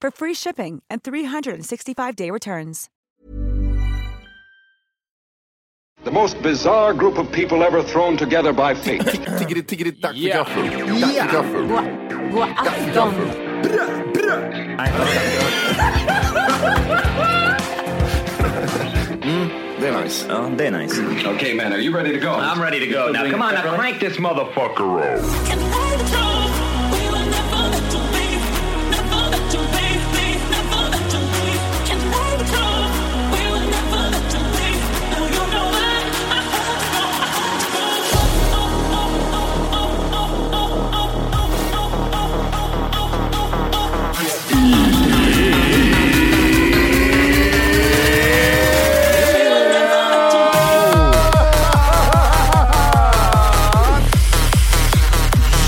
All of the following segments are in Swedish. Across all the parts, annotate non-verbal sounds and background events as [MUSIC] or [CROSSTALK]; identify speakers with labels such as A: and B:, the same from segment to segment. A: for free shipping and 365-day returns.
B: The most bizarre group of people ever thrown together by fate.
C: Tiggeri, tiggeri, dack för gaffel. Dack för gaffel.
A: God afton!
C: Det är nice.
D: Ja, det är Oh, nice.
B: okay, man, are you ready to go?
D: I'm ready to go now. Come on, now crank this motherfucker up.
E: Can I control? We will never let you be, never let you be, be, never let you be. Can I control? We will never let you be. Now you know [LAUGHS] I, I have to go, I have to go.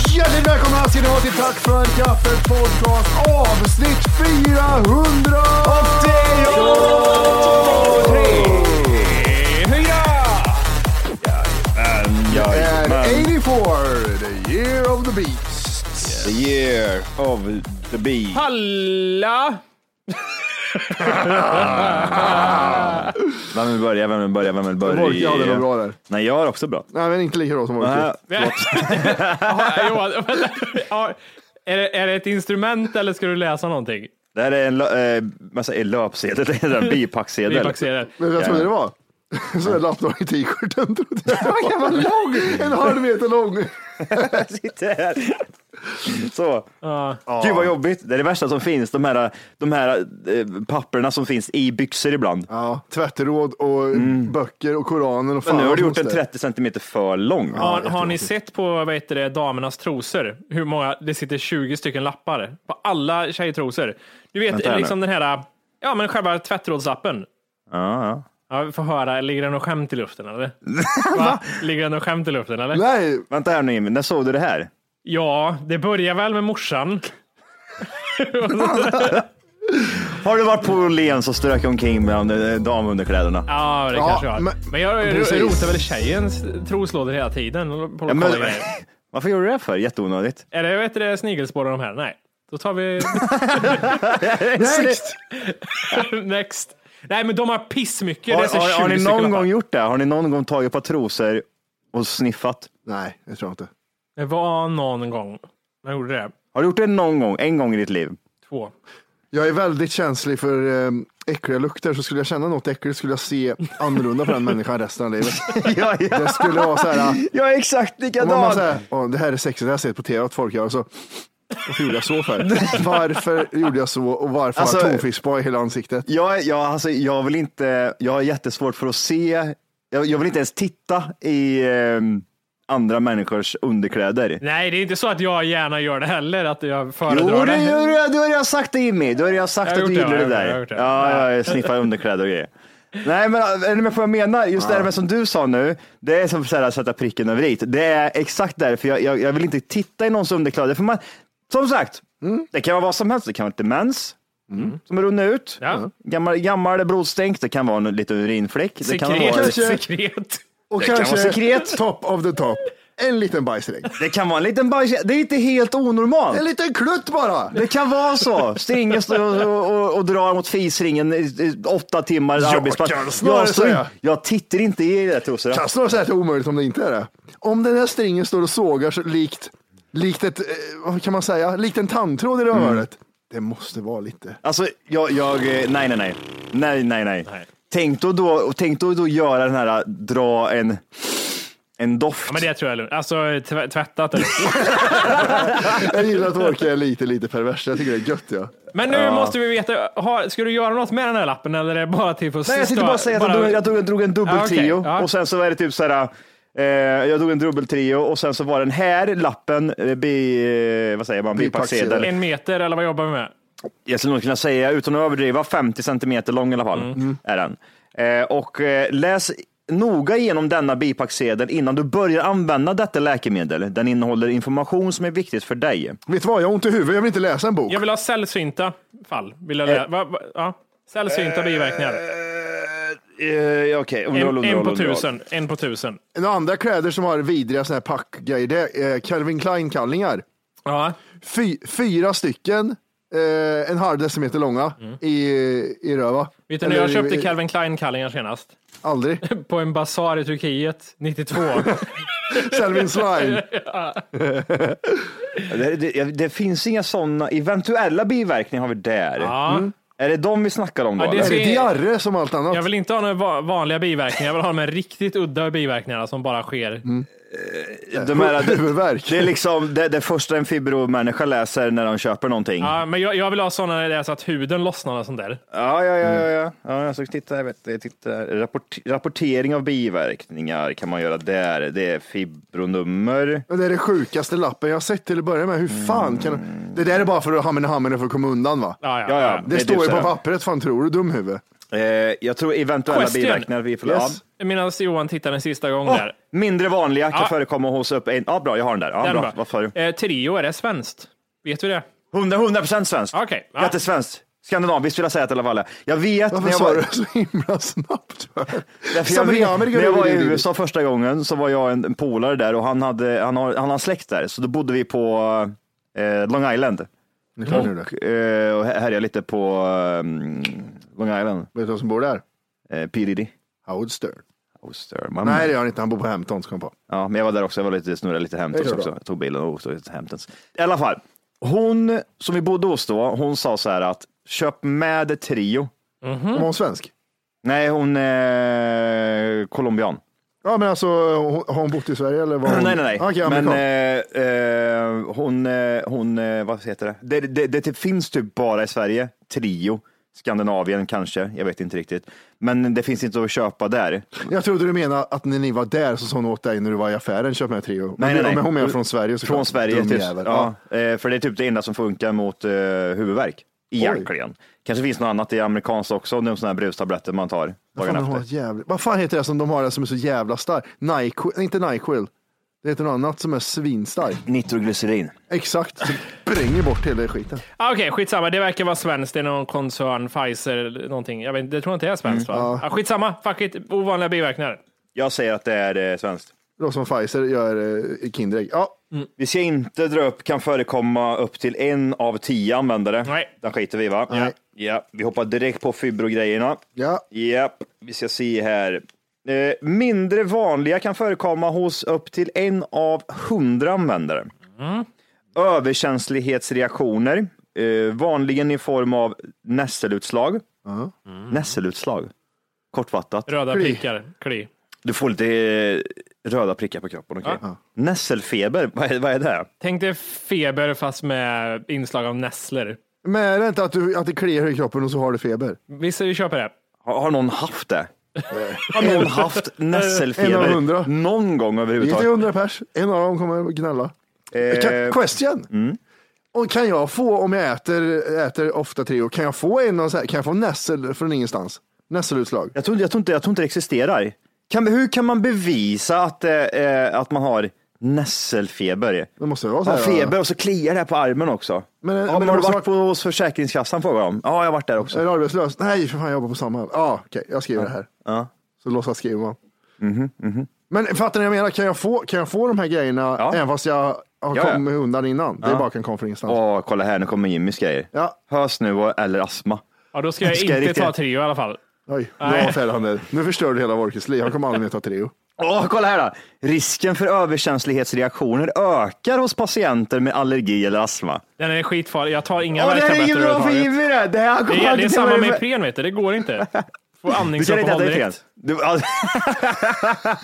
C: Hjärtligt välkomna ska ni vara till Tack för kaffet podcast avsnitt 400! Och det är jag! 84, the year of the beast.
F: The year of the bee.
G: Halla!
F: Vem vill börja, vem vill börja, vem vill börja?
C: Folk, jag hade något bra där.
F: Nej, jag har också bra.
C: Nej, men inte lika bra som
F: Äh,
C: Orkut.
G: Ja, Johan, vänta. Ja, är, det, är det ett instrument eller ska du läsa någonting?
F: Det här är en lö- eh, massa är löpsedel, [LAUGHS] det är en bipacksedel.
G: Bipacksedel.
C: Men jag trodde det var. [LAUGHS] Så jag lappade i t-shirten. trodde jag. En halv meter lång.
F: Sitter här. [LAUGHS] Så.
G: Ja.
F: Gud vad jobbigt. Det är det värsta som finns. De här, de här eh, papperna som finns i byxor ibland.
C: Ja, tvätteråd och böcker och Koranen och fan
F: Mm. Men nu har
C: vad
F: du gjort
C: som
F: den
C: måste-
F: 30 centimeter för lång.
G: Har, har ni sett på vad heter det, damernas trosor? Hur många, det sitter 20 stycken lappar på alla tjejtrosor. Du vet,
F: Vänta här nu.
G: liksom den här, ja men själva tvättrådsappen.
F: Ja, ja.
G: Ja, vi får höra, ligger det något skämt i luften
F: [LAUGHS]
G: eller? Va? Ligger det något skämt i luften eller?
C: Nej,
F: Vänta här nu Jimmy, när såg du det här?
G: Ja, det börjar väl med morsan.
F: Har du varit på Åhléns och strökat omkring med eh, damunderkläderna?
G: Ja, det
C: Ja,
G: kanske jag har. Men,
C: men-
G: jag
C: precis.
G: rotar väl i tjejens troslådor hela tiden. och på-
F: Ja, men,
G: kollar grejer.
F: [LAUGHS] varför gjorde du det för? Jätteonödigt.
G: Är det, vet du, det snigelspår av de här? Nej. Då tar vi [LAUGHS]
C: next!
G: next. Nej, men de har pissmycket. Det är
F: Har,
G: så
F: har,
G: 20
F: har ni
G: stycken
F: någon
G: lappar.
F: gång gjort det? Har ni någon gång tagit på trosor och sniffat?
C: Nej, det tror jag inte.
G: Det var någon gång. Jag gjorde det.
F: Har du gjort det någon gång? En gång i ditt liv?
G: Två.
C: Jag är väldigt känslig för eh, äckliga lukter, så skulle jag känna något äckligt skulle jag se annorlunda på den människan resten av livet.
F: [LAUGHS] ja,
C: Det skulle vara så här, eh,
F: Jag är exakt
C: om man
F: likadan!
C: säger, "Åh, det här är sexigt, det har jag sett på tv att folk gör, så varför gjorde jag så
F: [LAUGHS]
C: för? Varför gjorde jag så och varför har
F: Alltså-
C: jag tonfiskspaj i hela ansiktet?
F: Jag, jag, alltså, jag vill inte, jag har jättesvårt för att se, jag, jag vill inte ens titta i eh, andra människors underkläder.
G: Nej, det är inte så att jag gärna gör det heller. Att jag
F: Jo,
G: föredrar
F: det,
G: det.
F: det, då har jag sagt det Jimmy, då har jag sagt
G: Jag har
F: att du
G: gjort det,
F: gillar det
G: jag har gjort det, jag har gjort
F: där.
G: det.
F: Ja, jag sniffar underkläder och grejer. Nej, men äh, är ni med på vad jag menar? Just det här med som du sa nu, det är som så här, att sätta pricken över i. Det är exakt därför jag, jag, jag vill inte titta i någons underkläder. För man, som sagt,
G: Mm.
F: det kan vara vad som helst. Det kan vara lite mens mm, som har runnit ut.
G: Ja.
F: Gammal, gammal blodstänk, det kan vara en liten urinfläck. Det kan vara,
G: Sekret.
C: Kanske-
G: Sekret.
C: Och
F: Det kan
C: kanske
F: vara sekret.
C: top of the top, en liten bajsregn.
F: det kan vara en liten bajs. Det är inte helt onormalt.
C: En liten klutt bara!
F: Det kan vara så. Stringa står och, och, och drar mot fisringen i, i åtta timmar
C: Jag
F: arbetspass.
C: kan snarare
F: står in-
C: säga.
F: jag tittar inte i det trosorna.
C: kan snarare säga att det är omöjligt om det inte är det. Om den här
G: Mm.
C: stringen står och sågar så likt, likt ett, eh, vad kan man säga, likt en tandtråd i rövhålet. Det måste vara lite.
F: Alltså, jag, jag, eh, nej, nej, nej. Nej, nej, nej.
G: Nej.
F: Tänk då, då, tänk då, då göra den här, eh, dra en, en doft.
G: Ja, men det tror jag är lugnt. Alltså tv- tvättat eller?
F: [LAUGHS]
C: Jag gillar att Orka är lite, lite pervers. Jag tycker det är gött. Ja.
G: Men nu måste vi veta, har, ska du göra något med den här lappen eller är det bara till för att
F: Nej, jag sitter
G: stö-
F: bara och säger att jag drog, jag drog, jag drog en
G: Ja, okej.
F: dubbeltrio
G: Ja.
F: och sen så var det typ så här. Eh, jag drog en dubbeltrio och sen så var den här lappen, eh, bi, eh, vad säger man,
C: Bipacksedel.
F: bipacksedel.
G: En meter eller vad jobbar vi med?
F: Jag skulle nog kunna säga, utan att överdriva, 50 centimeter lång i alla
G: Mm.
F: fall. Är den. Eh, och eh, läs noga igenom denna bipacksedel innan du börjar använda detta läkemedel. Den innehåller information som är viktigt för dig.
C: Vet du vad? Jag har ont i huvudet. Jag vill inte läsa en bok.
G: Jag vill ha sällsynta fall. Vill jag lä- va, va, ja. Sällsynta biverkningar.
F: Eh, Okej, okay.
G: En, en på tusen. En på tusen.
C: Några andra kläder som har vidriga såna här packgrejer, det är eh, Calvin Klein-kallingar.
G: Ja.
C: Fy, fyra stycken, eh, en halv decimeter långa i, i röva.
G: Mm. Vet du när jag
C: Eller i-
G: köpte Calvin Klein-kallingar senast?
C: Aldrig.
G: På en basar i Turkiet 92.
C: Calvin Klein.
F: Det, det, det finns inga sådana, eventuella biverkningar har vi
G: [LAUGHS]
F: där.
G: Ja.
F: Är det de vi snackar om då?
G: Ja, det
F: eller?
C: Är
G: ska-
C: det diarré som allt annat?
G: Jag vill inte ha några va- vanliga biverkningar. Jag vill ha de här riktigt udda biverkningarna som bara sker.
F: Mm. de här, det,
C: Huvudvärk.
F: det är liksom det, det första en fibromänniska läser när de köper någonting. Ja,
G: Ja, men jag, jag vill ha sådana där så att huden lossnar och sånt där.
F: ja, ja. ja,
C: Mm.
F: ja. ja jag ska titta här, vet du, titta här. Rapport, rapportering av biverkningar kan man göra där. Det är fibronummer.
C: Men Det är det sjukaste lappen jag har sett till att börja med. Hur fan kan du... Det där är bara för att hamna i hamnen för att komma undan va?
G: Ja,
F: Ja, ja.
C: Det,
F: är
C: står
F: typ
C: ju
F: så
C: på
F: här.
C: pappret, fan tror du dumhuvud?
F: Eh, jag tror eventuella
G: Question.
F: biverkningar. Vi får,
C: Yes.
G: Medan Johan tittar en sista gång
F: ja.
G: där.
F: Åh, mindre vanliga kan
G: Ja.
F: förekomma hos upp en. Ja, bra, jag har den där. Ja,
G: Den
F: bra.
G: bara.
F: Vad sa du?
G: Eh, trio, är det svenskt? Vet vi det?
F: 100 100% svenskt.
G: Okej, ja.
F: Jättesvenskt. Skandinaviskt vill jag säga att i alla fall. Jag vet
C: Varför
F: när jag
C: sa
F: var...
C: du så himla snabbt? för?
F: Därför jag,
C: Som i
F: vet-
C: Amerika,
F: när jag var i
C: du- du- du-
F: USA första gången så var jag en en polare där och han hade, han har, han har släkt där, så då bodde vi på eh, Long Island
C: Nu klarar du det. Vet
F: och, eh, och här- härjade lite på eh, Long Island.
C: du vem som bor där?
F: Eh, P Diddy.
C: Howard Stern.
F: Oh, sir, mamma.
C: Nej det gör han inte, han bor på Hamptons kom jag på.
F: Ja, men jag var där också. Jag var lite, snurrade lite
C: Det
F: Hamptons
C: är bra.
F: också. Jag tog bilen och åkte till Hamptons. I alla fall, hon som vi bodde hos då, hon sa så här att köp med Trio.
G: Mhm.
C: Var hon svensk?
F: Nej, hon är colombian.
C: Ja men alltså, hon- har hon bott i Sverige
F: [CLEARS THROAT]
C: eller? Var hon... Ah,
F: Nej, nej, nej.
C: Okej,
F: men
C: amerikan.
F: eh, eh, hon, eh, hon eh, vad heter det? Det, det, det typ finns typ bara i Sverige, Trio, Skandinavien kanske, jag vet inte riktigt. Men det finns inte att köpa där.
C: Jag trodde du menade att när ni var där så sa hon åt dig när du var i affären, köp med Trio. Men
F: Nej, nej, nej.
C: Men hon menar från Sverige så
F: Från Sverige,
C: till...
F: typ, ja, eh, för det är typ det enda som funkar mot eh, huvudvärk. Egentligen. Kanske finns något annat i amerikanskt också, de sådana här brustabletter man tar dagen
C: Fan, de har
F: efter.
C: ett jävla... Vad fan heter det som de har där som är så jävla starkt? Nyquil, nej, inte Nyquil. Det heter något annat som är svinstarkt.
F: Nitroglycerin.
C: Exakt, som spränger bort hela skiten.
G: Ah, Okej, skitsamma. Det verkar vara svenskt. Det är någon koncern, Pfizer, någonting. Jag vet, inte, det tror jag inte är svenskt
F: Mm,
G: va? Ah, skitsamma, fuck it. Ovanliga biverkningar.
F: Jag säger att det är eh, svenskt.
C: De som Pfizer gör eh, Kinderägg. Ja,
F: Vi ska inte dra upp, kan förekomma upp till en av tio användare.
G: Nej.
F: Den skiter vi i, va?
C: Nej.
F: Ja, vi hoppar direkt på fibrogrejerna.
C: ja.
F: Ja, vi ska se här. Eh, mindre vanliga kan förekomma hos upp till en av hundra användare. Överkänslighetsreaktioner, eh, vanligen i form av nässelutslag.
C: Mm.
F: Nässelutslag, kortfattat.
G: Röda
C: Kli.
G: prikar, kli.
F: Du får lite eh, röda prickar på kroppen. okej? Nässelfeber, vad är, vad är det?
G: Tänk dig feber fast med inslag av nässlor.
C: Men är det inte att, du, att det kliar i kroppen och så har du feber?
G: Visst, vi köper det.
F: Har, har någon
C: [LAUGHS]
F: haft det? Har någon haft nässelfeber
C: En av hundra.
F: någon gång
C: Inte
F: överhuvudtaget?
C: hundra pers, en av dem kommer att gnälla.
F: Eh,
C: Ka- Question!
F: mm.
C: Och kan jag få, om jag äter, äter ofta Trio, kan jag få, en av så här, kan jag få nässel från ingenstans? Nässelutslag?
F: Jag tror, jag, tror inte, jag tror inte det existerar. Kan, hur kan man bevisa att, eh, eh, att man har nässelfeber?
C: Det måste vara så
F: Man
C: här,
F: har feber och så kliar det här på armen också.
C: Men-
F: ja,
C: men
F: men
C: det
F: har du
C: måste Eh.
F: varit på, hos Försäkringskassan frågar de. Ja, jag har varit där också.
C: Är du arbetslös? Nej, för fan, jag jobbar på Samhall. Ja, okej, jag skriver det här.
F: Ja. Mhm,
C: Så låtsas skriva. Men fattar ni vad jag menar? Kan jag få, kan jag få de här grejerna även fast jag har
F: Ja, ja.
C: kommit undan innan? Det är bara kan komma från ingenstans.
F: Åh, kolla här, nu kommer Jimmys grejer.
C: Ja.
F: Hös nu och- eller astma.
G: Ja, då ska jag
F: Ska jag
G: inte
F: riktigt-
G: ta trio i alla fall.
C: Oj, bra Ferhander. Nu förstör du hela Wolkes liv. Han kommer aldrig mer ta Trio.
F: Åh, kolla här då. Risken för överkänslighetsreaktioner ökar hos patienter med allergi eller astma.
G: Den är skitfarlig. Jag tar inga
F: Åh, det här är
G: värktabletter
F: inget bra för
G: överhuvudtaget.
F: Jimmy det. Det här
G: Det är, det är
F: alltid
G: samma
F: vara-
G: med Ipren, vet du. Det går inte.
F: [LAUGHS]
G: Får
F: Du kan inte
G: andningsuppehåll
F: äta Ipren.
G: direkt.
F: Du- alltså-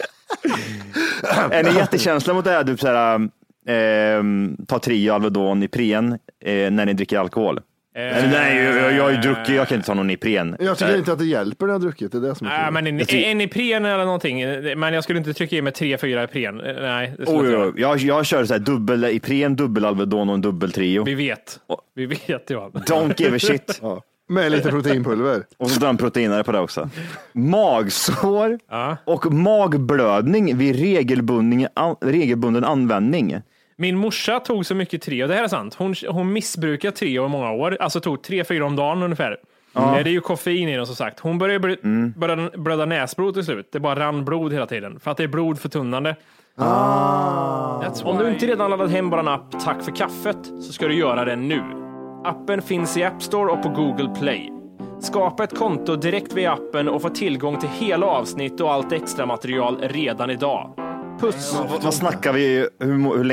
F: [LAUGHS] Är ni jättekänsliga mot det här? Du, så här um, ehm, ta Trio, Alvedon, Ipren eh, när ni dricker alkohol?
G: Eh,
F: Eller, nej, jag, jag, jag har ju druckit, jag kan inte ta någon Ipren. Eh,
C: Jag tycker inte att det hjälper när jag har druckit. Det är det som är
G: Nej,
C: kul.
G: men en,
F: Jag ty-
G: en Ipren eller någonting. Men jag skulle inte trycka i mig tre, fyra Ipren. Eh, Nej, det skulle
F: Oj,
G: jag inte
F: oj, oj.
G: göra.
F: Jag, jag kör så här dubbel Ipren, dubbel Alvedon och en dubbel Trio.
G: Vi vet. Vi vet ju allt.
F: Don't give
G: [LAUGHS]
F: a shit.
C: ja. Med lite proteinpulver.
F: Och så drar han proteinare på det också. Magsår
G: Ja.
F: och magblödning vid regelbunden, an, regelbunden användning.
G: Min morsa tog så mycket Treo, det här är sant. Hon, hon missbrukade Treo i många år, alltså tog tre, fyra om dagen ungefär. Eh, Det är ju koffein i den som sagt. Hon började bl- började blöda näsblod till slut. Det bara rann blod hela tiden för att det är blodförtunnande. Om du inte redan laddat hem vår app Tack för kaffet så ska du göra det nu. Appen finns i App Store och på Google Play. Skapa ett konto direkt via appen och få tillgång till hela avsnitt och allt extra material redan idag. Puss!
F: Vad- Vad snackar vi, hur, må- hur länge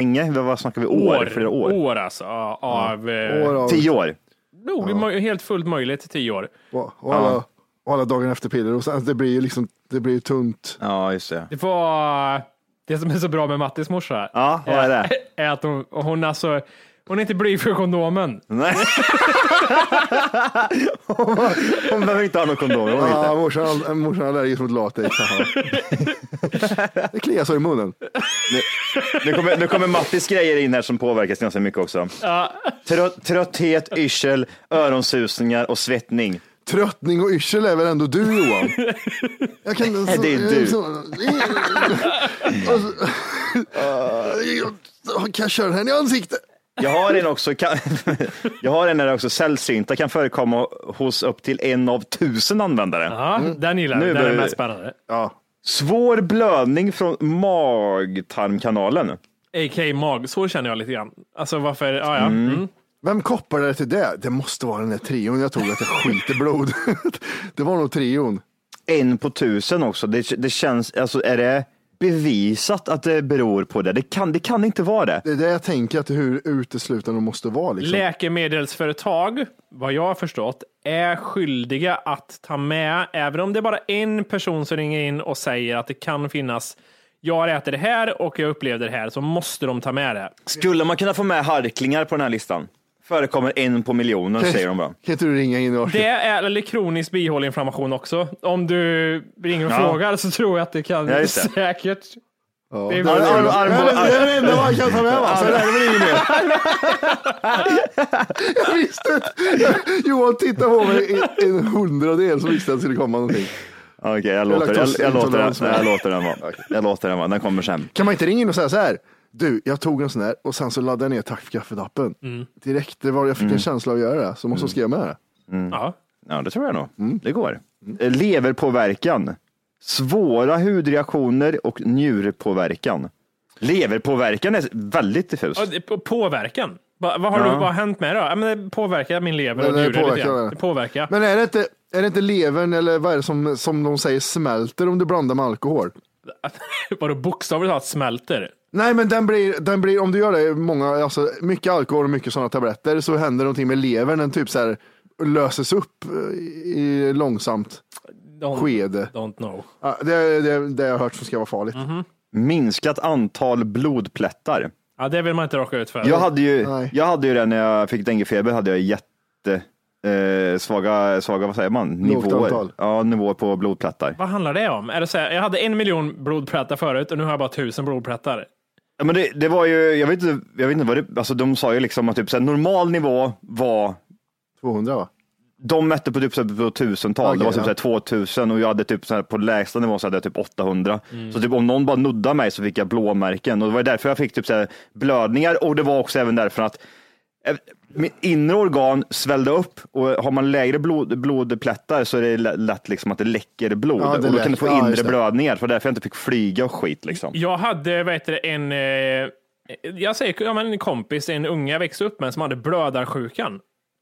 F: länge? Vad- Vad snackar vi? År? Flera år?
G: År alltså. ja, Av, eh,
C: År av,
F: Tio år?
G: Nog mo- helt fullt möjligt tio år.
C: och, och alla, och alla dagen efter piller. Och sen, det blir ju liksom, det blir ju tunt.
F: Ja, just det.
G: Det var det som är så bra med Mattis morsa.
F: Ja, vad är det?
G: Är att hon, hon alltså, hon är inte blyg för kondomen.
F: [LAUGHS] Nej. Hon behöver inte ha någon kondom. Hon inte.
C: Ja, morsan, morsan är allergisk mot latex. Haha. det kliar så i munnen.
F: Nu kommer, nu kommer Mattis grejer in här som påverkas ganska mycket också. Trö- trötthet, yrsel, öronsusningar och svettning.
C: Tröttning och yrsel är väl ändå du Johan? Jag kan,
F: Nej, det är du.
C: jag kan jag köra den här i ansiktet.
F: Jag har en också, kan, [LAUGHS] jag har en där också, sällsynta kan förekomma hos upp till en av tusen användare.
G: Ja, den gillar
F: Mm. Nu
G: jag. Den är
F: börjar
G: mest
F: vi-
G: spännande.
F: Svår blödning från magtarmkanalen.
G: A.k.a. magsår känner jag lite grann. Alltså varför, ja ja. Mm.
C: Vem kopplar det till det? Det måste vara den där trion jag tog att jag skiter blod. [LAUGHS] det var nog trion.
F: En på tusen också. Det, det känns, alltså är det bevisat att det beror på det? Det kan, det kan inte vara det.
C: Det är det jag tänker att hur uteslutande de måste vara. Liksom.
G: Läkemedelsföretag, vad jag har förstått, är skyldiga att ta med, även om det är bara en person som ringer in och säger att det kan finnas, jag äter det här och jag upplevde det här, så måste de ta med det.
F: Skulle man kunna få med harklingar på den här listan? Förekommer en på miljonen säger de bara.
C: Kan inte du ringa in och
G: Det är eller kronisk bihåleinflammation också. Om du ringer och
F: Ja.
G: frågar så tror jag att det kan
F: Ja, just det.
G: säkert.
C: Ja.
G: Det är
C: det, är
G: väl-
C: det,
F: Arm-
C: det, är det, det är det enda man kan ta med va? Så det är väl inget mer. Jag visste inte. Johan tittade på mig i en hundradel så visste jag att det skulle komma någonting.
F: Okej, jag, låter, jag, jag, låter den,
C: Laktosintolerans.
F: nej, jag låter den vara. Jag låter den vara, den kommer sen.
C: Kan man inte ringa in och säga så här? Du, jag tog en sån här och sen så laddade jag ner Tack för kaffet-appen. Direkt, det var, jag fick en känsla av att göra det, så måste jag skriva med det.
F: Mm.
G: Ja.
F: Ja, det tror jag nog.
C: Mm.
F: Det går. Eh, Leverpåverkan. Svåra hudreaktioner och njurpåverkan. Leverpåverkan är väldigt diffus.
G: Ja, det- på- Påverkan. Va, vad har du,
F: Ja.
G: vad har hänt med det då? Ja, men det påverkar min lever och
C: Men det
G: njure lite
C: påverkar
G: grann.
C: det.
G: Det påverkar.
C: Men är det inte, är det inte levern eller vad är det som, som de säger smälter om du blandar med alkohol?
G: [LAUGHS] Vadå bokstavligt talat smälter?
C: Nej, men den blir, den blir, om du gör det, många, alltså, mycket alkohol och mycket sådana tabletter så händer någonting med levern. Den typ så här löses upp eh, i långsamt skede.
G: Don't know.
C: Ja, det är det, är- det jag har hört som ska vara farligt.
F: Minskat antal blodplättar.
G: Ja, det vill man inte råka ut för.
F: Jag hade ju,
C: Nej.
F: jag hade ju det när jag fick denguefeber, hade jag jätte eh, svaga, svaga, vad säger man,
C: Lågt
F: nivåer.
C: antal.
F: Ja, nivåer på blodplättar.
G: Vad handlar det om? Är det så här, jag hade en miljon blodplättar förut och nu har jag bara tusen blodplättar.
F: Ja, men det, det var ju, jag vet inte, jag vet inte vad det, alltså de sa ju liksom att typ så här, normal nivå var
C: 200 va?
F: de mätte på typ så här på tusental,
C: Okej,
F: det var typ
C: ja.
F: så här 2000 och jag hade typ så här på lägsta nivån så hade jag typ 800.
C: Mm.
F: Så typ om någon bara nuddade mig så fick jag blåmärken och det var därför jag fick typ så här blödningar och det var också även därför att eh, mitt inre organ svällde upp och har man lägre blod, blodplättar så är det lä- lätt liksom att det läcker blod
C: Ja, det
F: och då
C: läcker.
F: kan du få
C: Ja, just
F: inre
C: det.
F: blödningar. för därför jag inte fick flyga och skit liksom.
G: Jag hade vad heter det, en, eh, jag säger, ja, men en kompis, en unge jag växte upp med som hade blödarsjukan.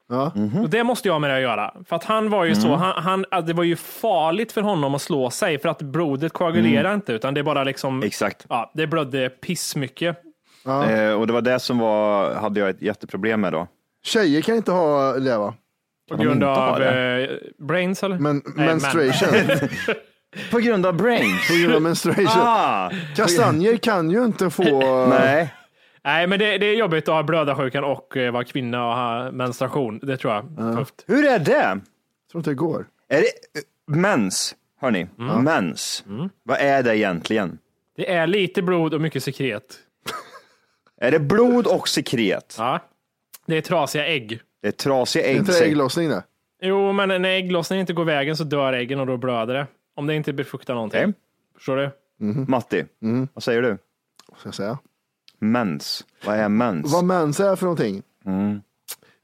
C: Ja. Mm.
G: Och det måste jag med det att göra. För att han var ju så, han, han, att det var ju farligt för honom att slå sig för att blodet koagulerar
C: Mm.
G: inte utan det är bara liksom,
F: Exakt.
G: ja, det blödde pissmycket.
F: Eh, och det var det som var, hade jag ett jätteproblem med då.
C: Tjejer kan inte ha det va?
G: På
F: de
G: grund
F: inte
G: av
F: har
G: eh, brains eller?
C: Men,
G: Nej,
C: menstruation.
F: [LAUGHS] På grund av brains.
C: På grund av menstruation.
F: [LAUGHS] ah,
C: Kastanjer kan ju inte få...
F: nej.
G: Nej, men det, det är jobbigt att ha blödarsjukan och eh, vara kvinna och ha menstruation. Det tror jag. Tufft.
F: Hur är det?
C: tror inte det går.
F: Är det eh, mens? Hörni, mens. Vad är det egentligen?
G: Det är lite blod och mycket sekret.
F: Är det blod och sekret?
G: Ja. Det är trasiga ägg.
F: Det är trasiga
C: Är
F: ägg.
C: inte det ägglossning det?
G: Jo, men när ägglossningen inte går vägen så dör äggen och då blöder det. Om det inte befruktar någonting.
F: Okej.
G: Förstår du?
C: Mm.
F: Matti, vad säger du?
C: Ska jag säga.
F: Mens. Vad är mens?
C: Vad mens är för någonting?
F: Mm.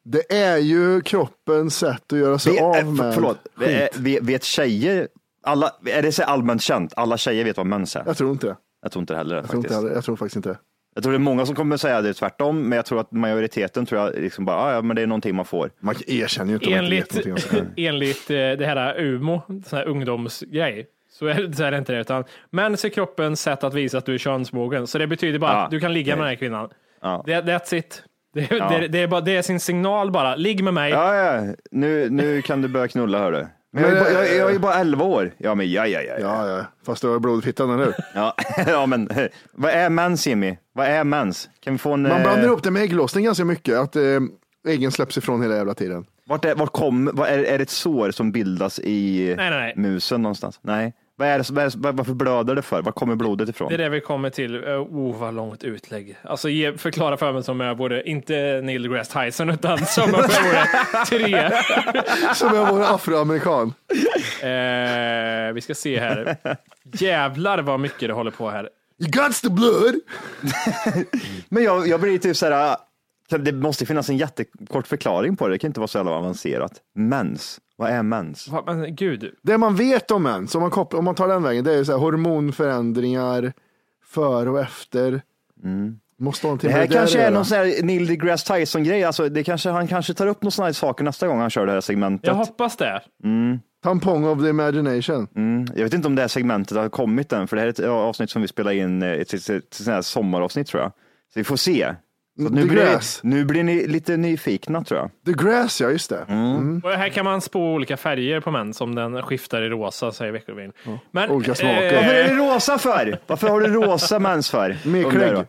C: Det är ju kroppens sätt att göra sig
F: Vet- eh,
C: av
F: för-
C: med
F: förlåt,
C: skit.
F: Eh, vet, vet tjejer, alla, är det så allmänt känt? Alla tjejer vet vad mens är.
C: Jag tror inte det.
F: Jag tror inte det heller
C: Jag tror,
F: faktiskt.
C: inte heller. jag tror faktiskt inte det.
F: Jag tror det är många som kommer säga det tvärtom, men jag tror att majoriteten tror jag liksom bara, "Ah, ja men det är någonting man får.
C: Man erkänner ju inte om man inte
G: Enligt,
C: vet någonting om det.
G: [LAUGHS] enligt eh, det här UMO, sån här ungdomsgrej, så är, det, så är det inte det. Utan mens är kroppens sätt att visa att du är könsmogen. Så det betyder bara
F: Ja.
G: att du kan ligga med den här kvinnan.
F: Ja.
G: Det, that's it. Det, det, det, är bara, det är sin signal bara. Ligg med mig.
F: Ja, ja. Nu, nu kan du börja knulla hörru. Men jag, är
C: Men,
F: bara, jag,
C: eh,
F: jag är bara 11 år. Ja, men ja, ja, ja. [LAUGHS] ja.
C: Ja, ja. Fast du har blod i fittan, eller hur?
F: Ja, [LAUGHS] ja men eh, vad är mens Jimmy? Vad är mens? Kan vi få en...
C: Man
F: eh,
C: blandar ihop det med ägglossning ganska mycket. Att eh, äggen släpps ifrån hela jävla
F: [LAUGHS]
C: tiden.
F: Vart är, vart kom, vad är, är det ett sår som bildas i
G: Nej, nej, nej.
F: musen någonstans? Nej. Vad är det, vad är det, varför blöder det för? Var kommer blodet ifrån?
G: Det är det vi kommer till. Eh, Oh, vad långt utlägg. Alltså, ge, förklara för mig som jag borde, inte Neil deGrasse Tyson, utan som om jag
F: [LAUGHS]
G: vore tre.
C: Som jag vore afroamerikan.
G: Eh, vi ska
C: [LAUGHS]
G: se här. Jävlar vad mycket det håller på här.
C: You got the blood!
F: Men jag, jag blir typ så här, kan- det måste finnas en jättekort förklaring på det. Det kan inte vara så jävla avancerat. Mens. Vad är mens?
G: Va, Men gud,
C: Det man vet om mens, om man, kopplar, om man tar den vägen, det är ju så här, hormonförändringar före och efter. Måste ha
F: Det
C: någonting
F: här
C: med
F: kanske
C: där
F: är
C: att
F: någon
C: göra.
F: sån här Neil deGrasse Tyson grej. Alltså, det kanske, han kanske tar upp några sådana här saker nästa gång han kör det här segmentet. Mm,
G: jag hoppas det.
C: Tampong of the imagination.
F: Jag vet inte om det här segmentet har kommit än, för det här är ett avsnitt som vi spelar in, eh, ett, ett, ett, ett sånt här sommaravsnitt tror jag. Så vi får se. Så att nu,
C: The
F: blir ni,
C: Grass.
F: nu blir ni lite nyfikna tror jag.
C: The grass, ja just det.
F: Mm.
C: Mm.
G: Och här kan man spå olika färger på män som den skiftar i rosa, säger Veckorevyn. Men,
C: Olika smaker.
F: Varför är
G: Eh,
F: det rosa för? Varför har du rosa mens för?
C: [LAUGHS] Mer
F: Undrar
C: klägg.
F: jag.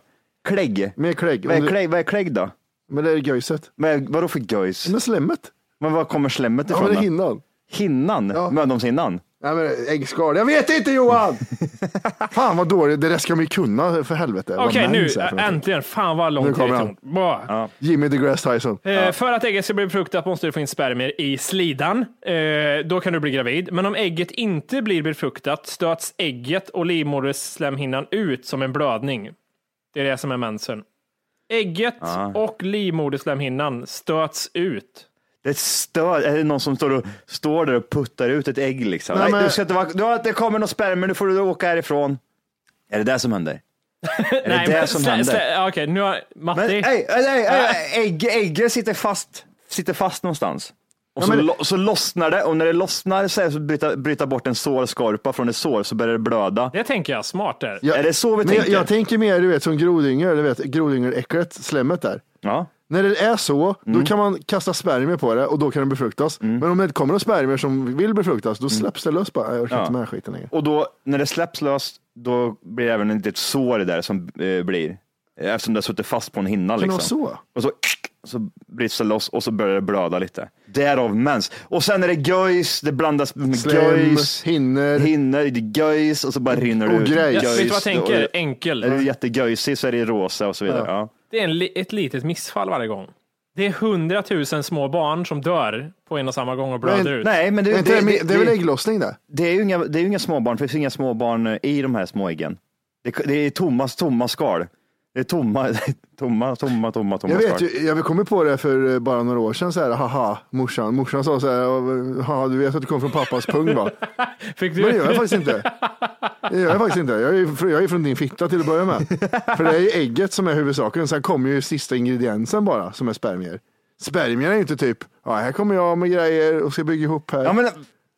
F: Klägg?
C: Mer klägg.
F: Vad
C: Om
F: är
C: du-
F: klägg, vad är klägg då?
C: Men det är göjset.
F: Vad är- Vadå för göjs?
C: Men slemmet.
F: Men var kommer slemmet
C: Ja,
F: ifrån?
C: men det är
F: då?
C: hinnan.
F: hinnan?
C: Ja.
F: Mödomshinnan?
C: Nej, men äggskal. Jag vet inte
F: [LAUGHS]
C: Johan! Fan vad dåligt. Det där ska man ju kunna för helvete. Vad
G: Okej,
C: mens är för
G: nu
C: någonting.
G: äntligen. Fan vad
C: Nu
G: långt
C: kommer
G: det
C: han.
G: tog. Bara.
C: Jimmy the Grass Tyson.
G: Eh, För att ägget ska bli befruktat måste du få in spermier i slidan. Eh, då kan du bli gravid. Men om ägget inte blir befruktat stöts ägget och livmoderslemhinnan ut som en blödning. Det är det som är mensen. Ägget och livmoderslemhinnan stöts ut.
F: Det stör, är det någon som står, och, står där och puttar ut ett ägg liksom? Nej,
C: Nej, men-
F: du ska inte vara, du har, det kommer någon spermier, nu får du åka härifrån. Är det det som händer? är det det som
G: slä-
F: händer?
G: slä- Okej, nu har
F: Men,
G: Matti.
F: ej, ej, ej, ej, ägg, ägg sitter fast, sitter fast någonstans. Och så,
C: men-
F: lo, så lossnar det och när det lossnar så, är det så bryta, bryta bort en sårskorpa från ett sår så börjar det blöda.
G: det tänker jag, smart där.
C: Ja.
F: Är det så vi
C: Men jag,
F: tänker?
C: jag tänker mer du vet, som grodyngel, du vet, grodyngel slemmet där.
F: Ja.
C: När det är så,
F: Mm.
C: då kan man kasta spermier på det och då kan det befruktas. Men om det kommer några spermier som vill befruktas, då släpps det lös bara. Jag orkar
F: Mm. Ja.
C: inte med den här skiten längre.
F: Och då, när det släpps löst, då blir det även ett litet sår där som eh, blir. Eftersom det har suttit fast på en hinna.
C: Kan det
F: Liksom.
C: vara så?
F: Och så, så bryts det loss och så börjar det blöda lite. Därav mens. Och sen är det göjs, det blandas med
C: Slem,
F: göjs,
C: hinner.
F: hinner, det är göjs och så bara rinner det
C: Och
F: ut.
C: grejs.
G: Jag,
F: Göjs,
G: vet du vad jag tänker?
F: och-
G: Enkel.
F: Är du jättegöjsig så är det rosa och så vidare. Ja.
G: Det är en, li- ett litet missfall varje gång. Det är hundratusen små barn som dör på en och samma gång och blöder ut.
F: Nej, men
C: Det,
F: det,
C: inte det, det, är väl ägglossning det?
F: Det är ju inga, det är ju inga småbarn, för det finns inga småbarn eh, i de här småäggen. Det, det är tomma, tomma skal. Det är tomma, [LAUGHS] tomma, tomma, tomma, tomma
C: Jag vet
F: skal.
C: ju, jag kom ju på det för eh, bara några år sedan, så här, haha, morsan. Morsan sa så här, haha, du vet att du kom från pappas pung
F: [LAUGHS]
C: va?
G: Fick
C: Men det
G: du?
C: gör jag faktiskt inte. Det gör jag faktiskt inte. Jag är, ju fr- jag är från din fitta till att börja med. För det är ju ägget som är huvudsaken. Sen kommer ju sista ingrediensen bara, som är spermier. Spermier är ju inte typ, ja, här kommer jag med grejer och ska bygga ihop här.
F: Ja, men,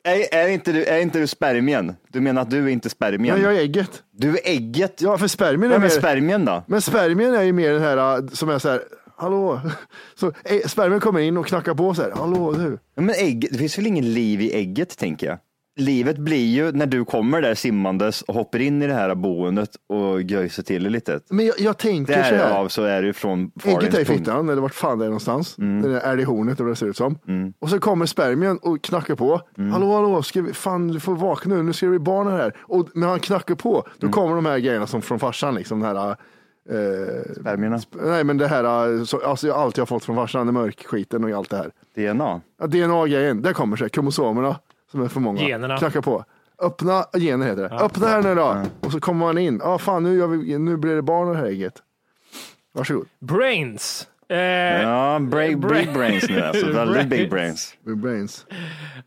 F: är, är, inte du, är inte du spermien? Du menar att du är inte spermien?
C: Nej, jag är ägget.
F: Du är ägget.
C: Ja, för spermier är
F: Vem är
C: mer...
F: spermien då?
C: Men spermien är ju mer den här äh, som är så här, hallå. Så, äh, spermien kommer in och knackar på så här, hallå du.
F: Men ägg, det finns väl ingen liv i ägget, tänker jag. Livet blir ju när du kommer där simmandes och hoppar in i det här boendet och göjser till det lite.
C: Men jag, jag tänker så här.
F: Därav så är det ju från farens
C: Ägget är i
F: pung.
C: fittan, eller vart fan det är någonstans. Det är i hornet, eller vad det ser ut som. Och så kommer spermien och knackar på. Hallå, hallå, ska vi, fan du får vakna nu, nu ska det bli barn här. Och när han knackar på, då kommer de här grejerna som från farsan. Liksom, den här, eh,
F: Spermierna.
C: nej, men det här, eh, så, alltså, allt jag har fått från farsan, den mörkskiten och allt det här.
F: DNA.
C: Ja, DNA-grejen, där kommer sig. Kromosomerna som är för många.
G: Generna.
C: Knacka på. Öppna, äh, gener heter det. Öppna här nu då. Och så kommer man in. Ja, fan nu, gör vi, nu blir det barn i det här ägget. Varsågod.
G: Brains. Eh, ja.
F: Ja, big, big brains nu alltså.
C: [LAUGHS]
F: Väldigt big brains.
C: With brains.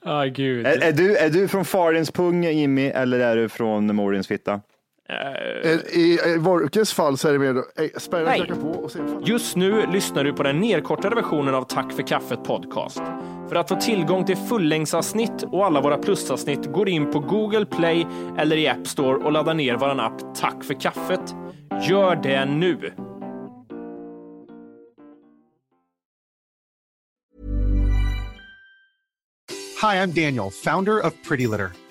G: ah, gud.
F: Är, är, du, är du från farens pung Jimmy eller är du från morins fitta?
C: Eh, I i Vorkes fall så är det mer då, eh, spärren knackar på och sen fan.
G: Just nu lyssnar du på den nedkortade versionen av Tack för kaffet podcast. För att få tillgång till fullängdsavsnitt och alla våra plusavsnitt går in på Google Play eller i App Store och laddar ner vår app Tack för kaffet. Gör det nu!
H: Hi, I'm Daniel, founder of Pretty Litter.